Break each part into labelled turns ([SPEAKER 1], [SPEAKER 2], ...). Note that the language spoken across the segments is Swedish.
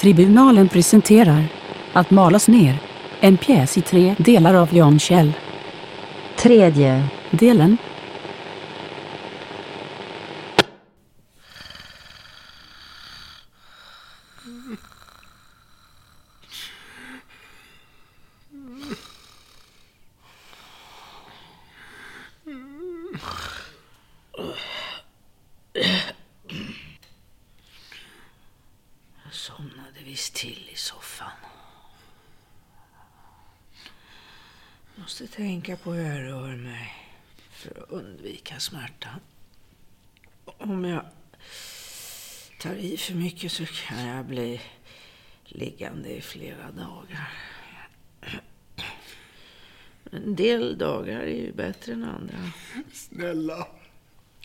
[SPEAKER 1] Tribunalen presenterar Att malas ner, en pjäs i tre delar av Jan Kjell.
[SPEAKER 2] Tredje.
[SPEAKER 1] Delen
[SPEAKER 3] Jag somnade visst till i soffan. Måste tänka på hur jag rör mig för att undvika smärtan. Om jag tar i för mycket så kan jag bli liggande i flera dagar. En del dagar är ju bättre än andra.
[SPEAKER 4] Snälla,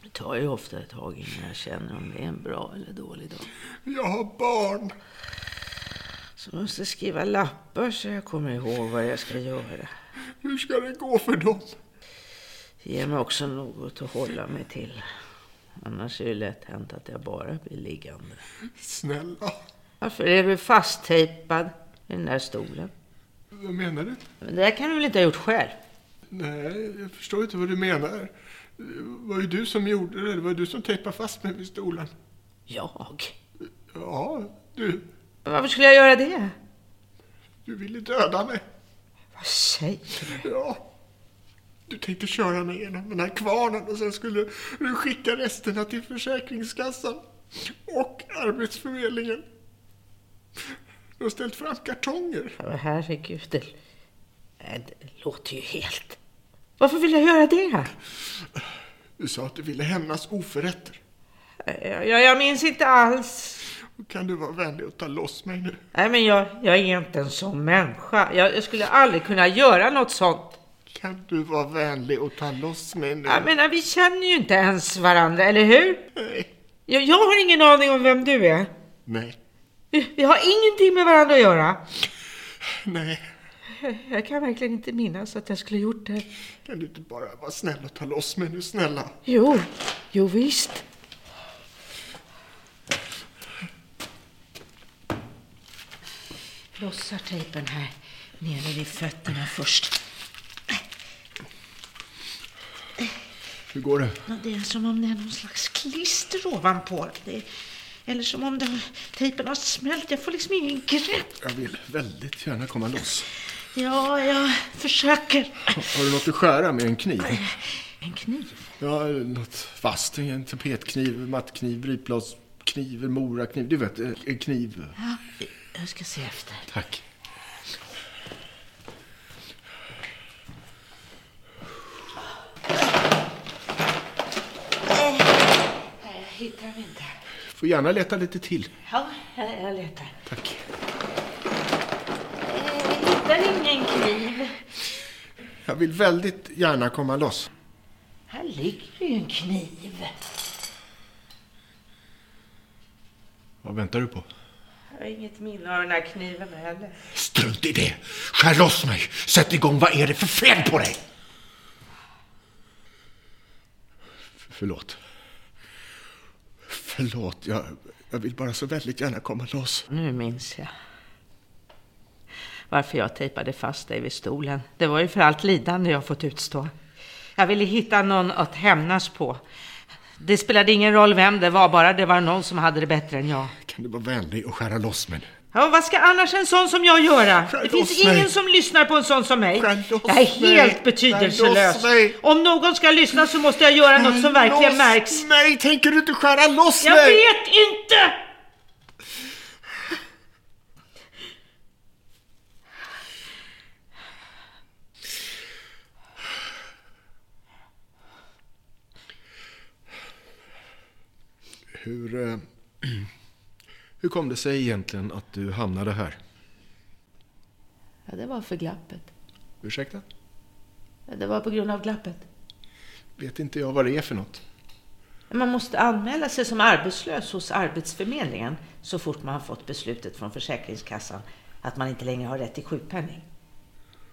[SPEAKER 3] Det tar ju ofta ett tag innan jag känner om det är en bra eller dålig dag.
[SPEAKER 4] jag har barn.
[SPEAKER 3] Så måste jag skriva lappar så jag kommer ihåg vad jag ska göra.
[SPEAKER 4] Hur ska det gå för dem?
[SPEAKER 3] Ge mig också något att hålla mig till. Annars är det lätt hänt att jag bara blir liggande.
[SPEAKER 4] Snälla,
[SPEAKER 3] Varför är du fasttejpad i den där stolen?
[SPEAKER 4] vad menar du?
[SPEAKER 3] Men det där kan du väl inte ha gjort själv?
[SPEAKER 4] Nej, jag förstår inte vad du menar. Det var ju du som gjorde det. Det var du som tejpade fast mig vid stolen.
[SPEAKER 3] Jag?
[SPEAKER 4] Ja, du.
[SPEAKER 3] Men Varför skulle jag göra det?
[SPEAKER 4] Du ville döda mig.
[SPEAKER 3] Vad säger du?
[SPEAKER 4] Ja. Du tänkte köra mig genom den här kvarnen och sen skulle du skicka resterna till Försäkringskassan och Arbetsförmedlingen. Du har ställt fram kartonger.
[SPEAKER 3] Men herregud, det, nej, det låter ju helt... Varför vill jag göra det?
[SPEAKER 4] Du sa att du ville hämnas oförrätter.
[SPEAKER 3] Jag, jag, jag minns inte alls.
[SPEAKER 4] Kan du vara vänlig och ta loss mig nu?
[SPEAKER 3] Nej, men jag, jag är inte en sån människa. Jag, jag skulle aldrig kunna göra något sånt.
[SPEAKER 4] Kan du vara vänlig och ta loss mig nu?
[SPEAKER 3] Jag menar, vi känner ju inte ens varandra, eller hur?
[SPEAKER 4] Nej.
[SPEAKER 3] Jag, jag har ingen aning om vem du är.
[SPEAKER 4] Nej.
[SPEAKER 3] Vi, vi har ingenting med varandra att göra.
[SPEAKER 4] Nej.
[SPEAKER 3] Jag kan verkligen inte minnas att jag skulle gjort det.
[SPEAKER 4] Kan du inte bara vara snäll och ta loss mig nu, snälla?
[SPEAKER 3] Jo, jo visst. Lossar tejpen här nere vid fötterna först.
[SPEAKER 4] Hur går det?
[SPEAKER 3] Ja, Det är som om det är någon slags klister ovanpå. Det är, eller som om den, tejpen har smält. Jag får liksom ingen grepp.
[SPEAKER 4] Jag vill väldigt gärna komma loss.
[SPEAKER 3] Ja, jag försöker.
[SPEAKER 4] Har du något att skära med en kniv?
[SPEAKER 3] En kniv?
[SPEAKER 4] Ja, något fast. En tapetkniv, mattkniv, brytbladskniv, morakniv. Du vet, en kniv.
[SPEAKER 3] Ja, jag ska se efter.
[SPEAKER 4] Tack.
[SPEAKER 3] Nej, jag hittar den inte.
[SPEAKER 4] Får gärna leta lite till.
[SPEAKER 3] Ja, jag, jag letar.
[SPEAKER 4] Tack.
[SPEAKER 3] Jag Eh, hittar ingen kniv.
[SPEAKER 4] Jag vill väldigt gärna komma loss.
[SPEAKER 3] Här ligger ju en kniv.
[SPEAKER 4] Vad väntar du på?
[SPEAKER 3] Jag har inget minne av den här kniven heller.
[SPEAKER 4] Strunt i det! Skär loss mig! Sätt igång! Vad är det för fel på dig? Förlåt. Förlåt, jag, jag vill bara så väldigt gärna komma loss.
[SPEAKER 3] Nu minns jag. Varför jag tejpade fast dig vid stolen. Det var ju för allt lidande jag fått utstå. Jag ville hitta någon att hämnas på. Det spelade ingen roll vem det var, bara det var någon som hade det bättre än jag.
[SPEAKER 4] Kan du vara vänlig och skära loss mig nu?
[SPEAKER 3] Ja, vad ska annars en sån som jag göra?
[SPEAKER 4] Skär
[SPEAKER 3] Det
[SPEAKER 4] loss
[SPEAKER 3] finns
[SPEAKER 4] mig.
[SPEAKER 3] ingen som lyssnar på en sån som mig.
[SPEAKER 4] Skär loss
[SPEAKER 3] Jag är
[SPEAKER 4] mig.
[SPEAKER 3] helt
[SPEAKER 4] Skär
[SPEAKER 3] betydelselös.
[SPEAKER 4] loss mig.
[SPEAKER 3] Om någon ska lyssna så måste jag göra något som verkligen märks.
[SPEAKER 4] Nej, tänker du inte skära loss
[SPEAKER 3] Jag
[SPEAKER 4] mig?
[SPEAKER 3] vet inte!
[SPEAKER 4] Hur, eh, hur kom det sig egentligen att du hamnade här?
[SPEAKER 3] Ja, det var för glappet.
[SPEAKER 4] Ursäkta?
[SPEAKER 3] Ja, Det var på grund av glappet.
[SPEAKER 4] Vet inte jag vad det är för något.
[SPEAKER 3] Man måste anmäla sig som arbetslös hos Arbetsförmedlingen så fort man har fått beslutet från Försäkringskassan att man inte längre har rätt till sjukpenning.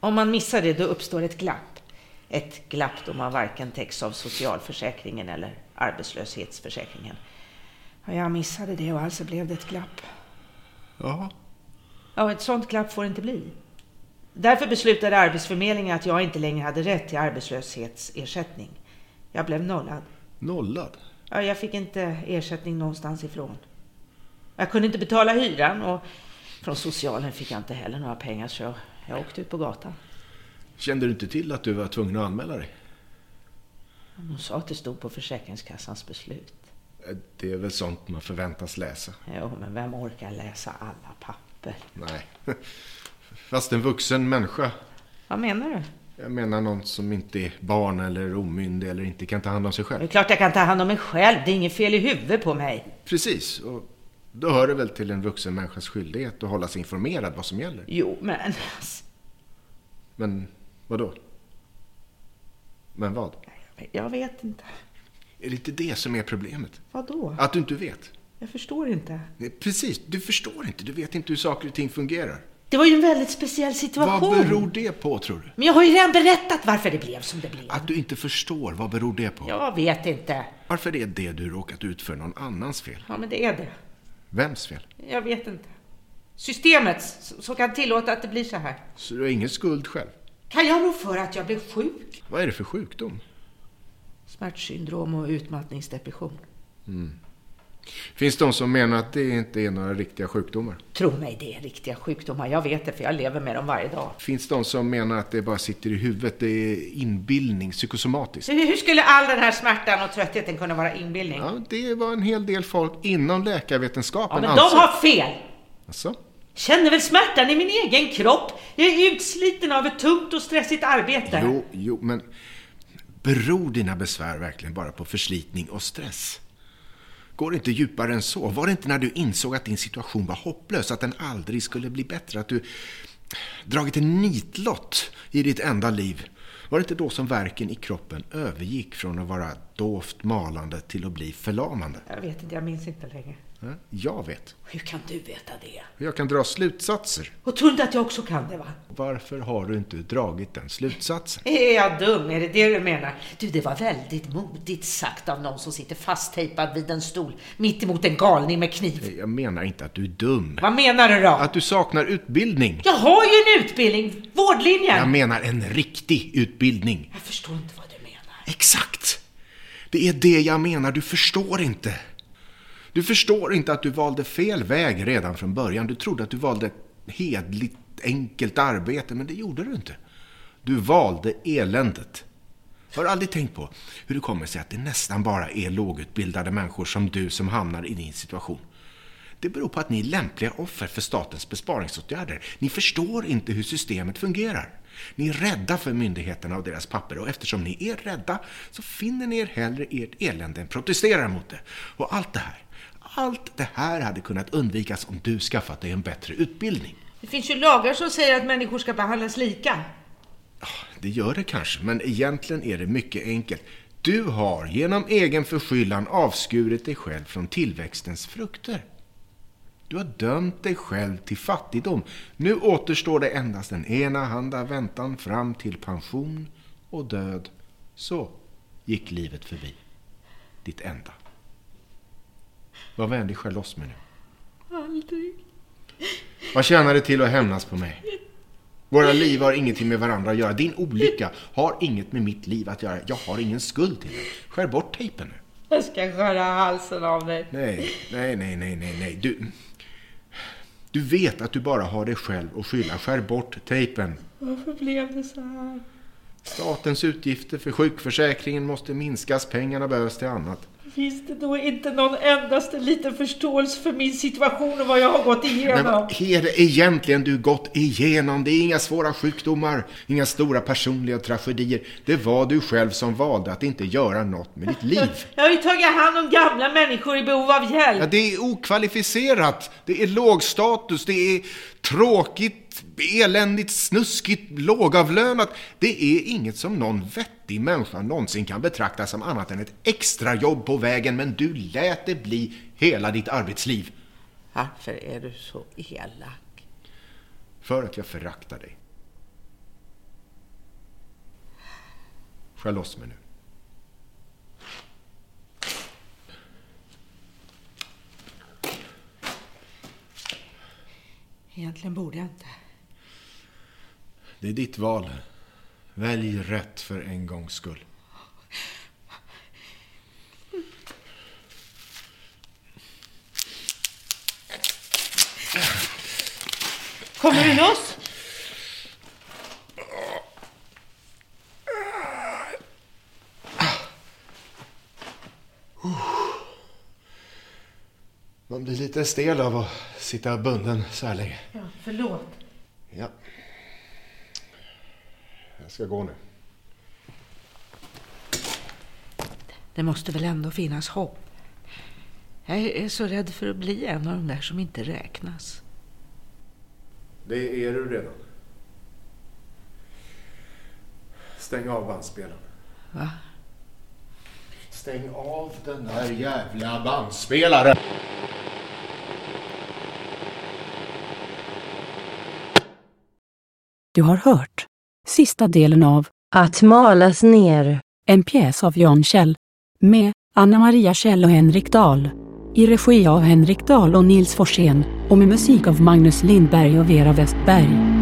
[SPEAKER 3] Om man missar det, då uppstår ett glapp. Ett glapp då man varken täcks av socialförsäkringen eller arbetslöshetsförsäkringen. Och jag missade det och alltså blev det ett glapp.
[SPEAKER 5] Ja.
[SPEAKER 3] Ja, ett sånt glapp får det inte bli. Därför beslutade Arbetsförmedlingen att jag inte längre hade rätt till arbetslöshetsersättning. Jag blev nollad.
[SPEAKER 5] Nollad?
[SPEAKER 3] Ja, jag fick inte ersättning någonstans ifrån. Jag kunde inte betala hyran och från socialen fick jag inte heller några pengar så jag, jag åkte ut på gatan.
[SPEAKER 4] Kände du inte till att du var tvungen att anmäla dig?
[SPEAKER 3] De sa att det stod på Försäkringskassans beslut.
[SPEAKER 4] Eh, Det är väl sånt man förväntas läsa.
[SPEAKER 3] Jo, men vem orkar läsa alla papper?
[SPEAKER 4] Nej. Fast en vuxen människa.
[SPEAKER 3] Vad menar du?
[SPEAKER 4] Jag menar någon som inte är barn eller omyndig eller inte kan ta hand om sig
[SPEAKER 3] Det är
[SPEAKER 4] själv.
[SPEAKER 3] klart jag kan ta hand om mig själv, det är inget fel i huvudet på mig.
[SPEAKER 4] Precis. Och då hör det väl till en vuxen människas skyldighet att hålla sig informerad vad som gäller.
[SPEAKER 3] Jo, men alltså,
[SPEAKER 4] Men vad då? Men vad?
[SPEAKER 3] jag vet inte.
[SPEAKER 4] Är det inte det som är problemet?
[SPEAKER 3] Vad då?
[SPEAKER 4] Att du inte vet?
[SPEAKER 3] Jag förstår inte.
[SPEAKER 4] Nej, Precis, du förstår inte. Du vet inte hur saker och ting fungerar.
[SPEAKER 3] Det var ju en väldigt speciell situation.
[SPEAKER 4] Vad beror det på, tror du?
[SPEAKER 3] Men jag har ju redan berättat varför det blev som det blev.
[SPEAKER 4] Att du inte förstår, vad beror det på?
[SPEAKER 3] Jag vet inte.
[SPEAKER 4] Varför är det du råkat ut för någon annans fel?
[SPEAKER 3] Ja, men det är det.
[SPEAKER 4] Vems fel?
[SPEAKER 3] Jag vet inte. Systemet s- som kan tillåta att det blir så här.
[SPEAKER 4] Så du har ingen skuld själv?
[SPEAKER 3] Kan jag rå för att jag blev sjuk?
[SPEAKER 4] Vad är det för sjukdom?
[SPEAKER 3] Smärtsyndrom och utmattningsdepression.
[SPEAKER 4] Finns de som menar att det inte är några riktiga sjukdomar?
[SPEAKER 3] Tro mig, det är riktiga sjukdomar. Jag vet det, för jag lever med dem varje dag.
[SPEAKER 4] Finns de som menar att det bara sitter i huvudet, det är inbildning, psykosomatiskt?
[SPEAKER 3] Så hur hur skulle all den här smärtan och tröttheten kunna vara inbildning? Ja,
[SPEAKER 4] Ja, det var en hel del folk inom läkarvetenskapen
[SPEAKER 3] men de har fel!
[SPEAKER 4] Alltså?
[SPEAKER 3] Känner väl smärtan i min egen kropp? Jag är utsliten av ett tungt och stressigt arbete.
[SPEAKER 4] Jo, jo, men beror dina besvär verkligen bara på förslitning och stress? Går det inte djupare än så? Var det inte när du insåg att din situation var hopplös, att den aldrig skulle bli bättre, att du dragit en nitlott i ditt enda liv? Var det inte då som verken i kroppen övergick från att vara dovt malande till att bli förlamande?
[SPEAKER 3] Jag vet inte, jag minns inte längre.
[SPEAKER 4] Ja, Jag vet.
[SPEAKER 3] Hur kan du veta det?
[SPEAKER 4] Jag kan dra slutsatser.
[SPEAKER 3] Och tror inte att jag också kan det va?
[SPEAKER 4] Varför har du inte dragit den slutsatsen?
[SPEAKER 3] Är jag dum? Är det det du menar? Du, det var väldigt modigt sagt av någon som sitter fasttejpad vid en stol mitt emot en galning med kniv.
[SPEAKER 4] Jag menar inte att du är dum.
[SPEAKER 3] Vad menar du då?
[SPEAKER 4] Att du saknar utbildning.
[SPEAKER 3] Jag har ju en utbildning! Vårdlinjen!
[SPEAKER 4] Jag menar en riktig utbildning.
[SPEAKER 3] Jag förstår inte vad du menar.
[SPEAKER 4] Exakt! Det är det jag menar, du förstår inte. Du förstår inte att du valde fel väg redan från början. Du trodde att du valde hedligt, enkelt arbete, men det gjorde du inte. Du valde eländet. Har du aldrig tänkt på hur det kommer sig att det nästan bara är lågutbildade människor som du som hamnar i din situation? Det beror på att ni är lämpliga offer för statens besparingsåtgärder. Ni förstår inte hur systemet fungerar. Ni är rädda för myndigheterna och deras papper och eftersom ni är rädda så finner ni er hellre ert elände än protesterar mot det. Och allt det här, allt det här hade kunnat undvikas om du skaffat dig en bättre utbildning.
[SPEAKER 3] Det finns ju lagar som säger att människor ska behandlas lika.
[SPEAKER 4] Det gör det kanske, men egentligen är det mycket enkelt. Du har genom egen förskyllan avskurit dig själv från tillväxtens frukter. Du har dömt dig själv till fattigdom. Nu återstår det endast den ena handa väntan fram till pension och död. Så gick livet förbi. Ditt enda. Vad vänder jag loss med nu?
[SPEAKER 3] Aldrig.
[SPEAKER 4] Vad tjänar det till att hämnas på mig? Våra liv har ingenting med varandra att göra. Din olycka har inget med mitt liv att göra. Jag har ingen skuld till det. Skär bort tejpen nu.
[SPEAKER 3] Jag ska skära halsen av dig.
[SPEAKER 4] Nej, nej, nej, nej, nej, nej. Du, du vet att du bara har dig själv att skylla. Skär bort tejpen.
[SPEAKER 3] Varför blev det så här?
[SPEAKER 4] Statens utgifter för sjukförsäkringen måste minskas. Pengarna behövs till annat.
[SPEAKER 3] Finns det då inte någon endaste liten förståelse för min situation och vad jag har gått igenom?
[SPEAKER 4] Men vad är det egentligen du gått igenom? Det är inga svåra sjukdomar, inga stora personliga tragedier. Det var du själv som valde att inte göra något med ditt liv.
[SPEAKER 3] Jag har ju tagit hand om gamla människor i behov av
[SPEAKER 4] Ja,
[SPEAKER 3] hjälp.
[SPEAKER 4] det är okvalificerat, det är låg status, det är tråkigt, eländigt, snuskigt, lågavlönat. Det är inget som någon vettig människa någonsin kan betrakta som annat än ett extrajobb på vägen, men du lät det bli hela ditt arbetsliv.
[SPEAKER 3] Varför är du så elak?
[SPEAKER 4] För att jag föraktar dig. Skär loss mig nu.
[SPEAKER 3] Egentligen borde jag inte.
[SPEAKER 4] Det är ditt val. Välj rätt för en gångs skull.
[SPEAKER 3] Kommer du loss?
[SPEAKER 4] Man blir lite stel av att sitta bunden så här länge.
[SPEAKER 3] Ja, förlåt.
[SPEAKER 4] Ja. Jag ska gå nu.
[SPEAKER 3] Det måste väl ändå finnas hopp? Jag är så rädd för att bli en av de där som inte räknas.
[SPEAKER 4] Det är du redan. Stäng av bandspelaren.
[SPEAKER 3] Va?
[SPEAKER 4] Stäng av den där jävla bandspelaren!
[SPEAKER 1] Du har hört sista delen av
[SPEAKER 2] Att malas ner.
[SPEAKER 1] En pjäs av Jan Kjell med Anna Maria Kjell och Henrik Dahl i regi av Henrik Dahl och Nils Forsén och med musik av Magnus Lindberg och Vera Westberg.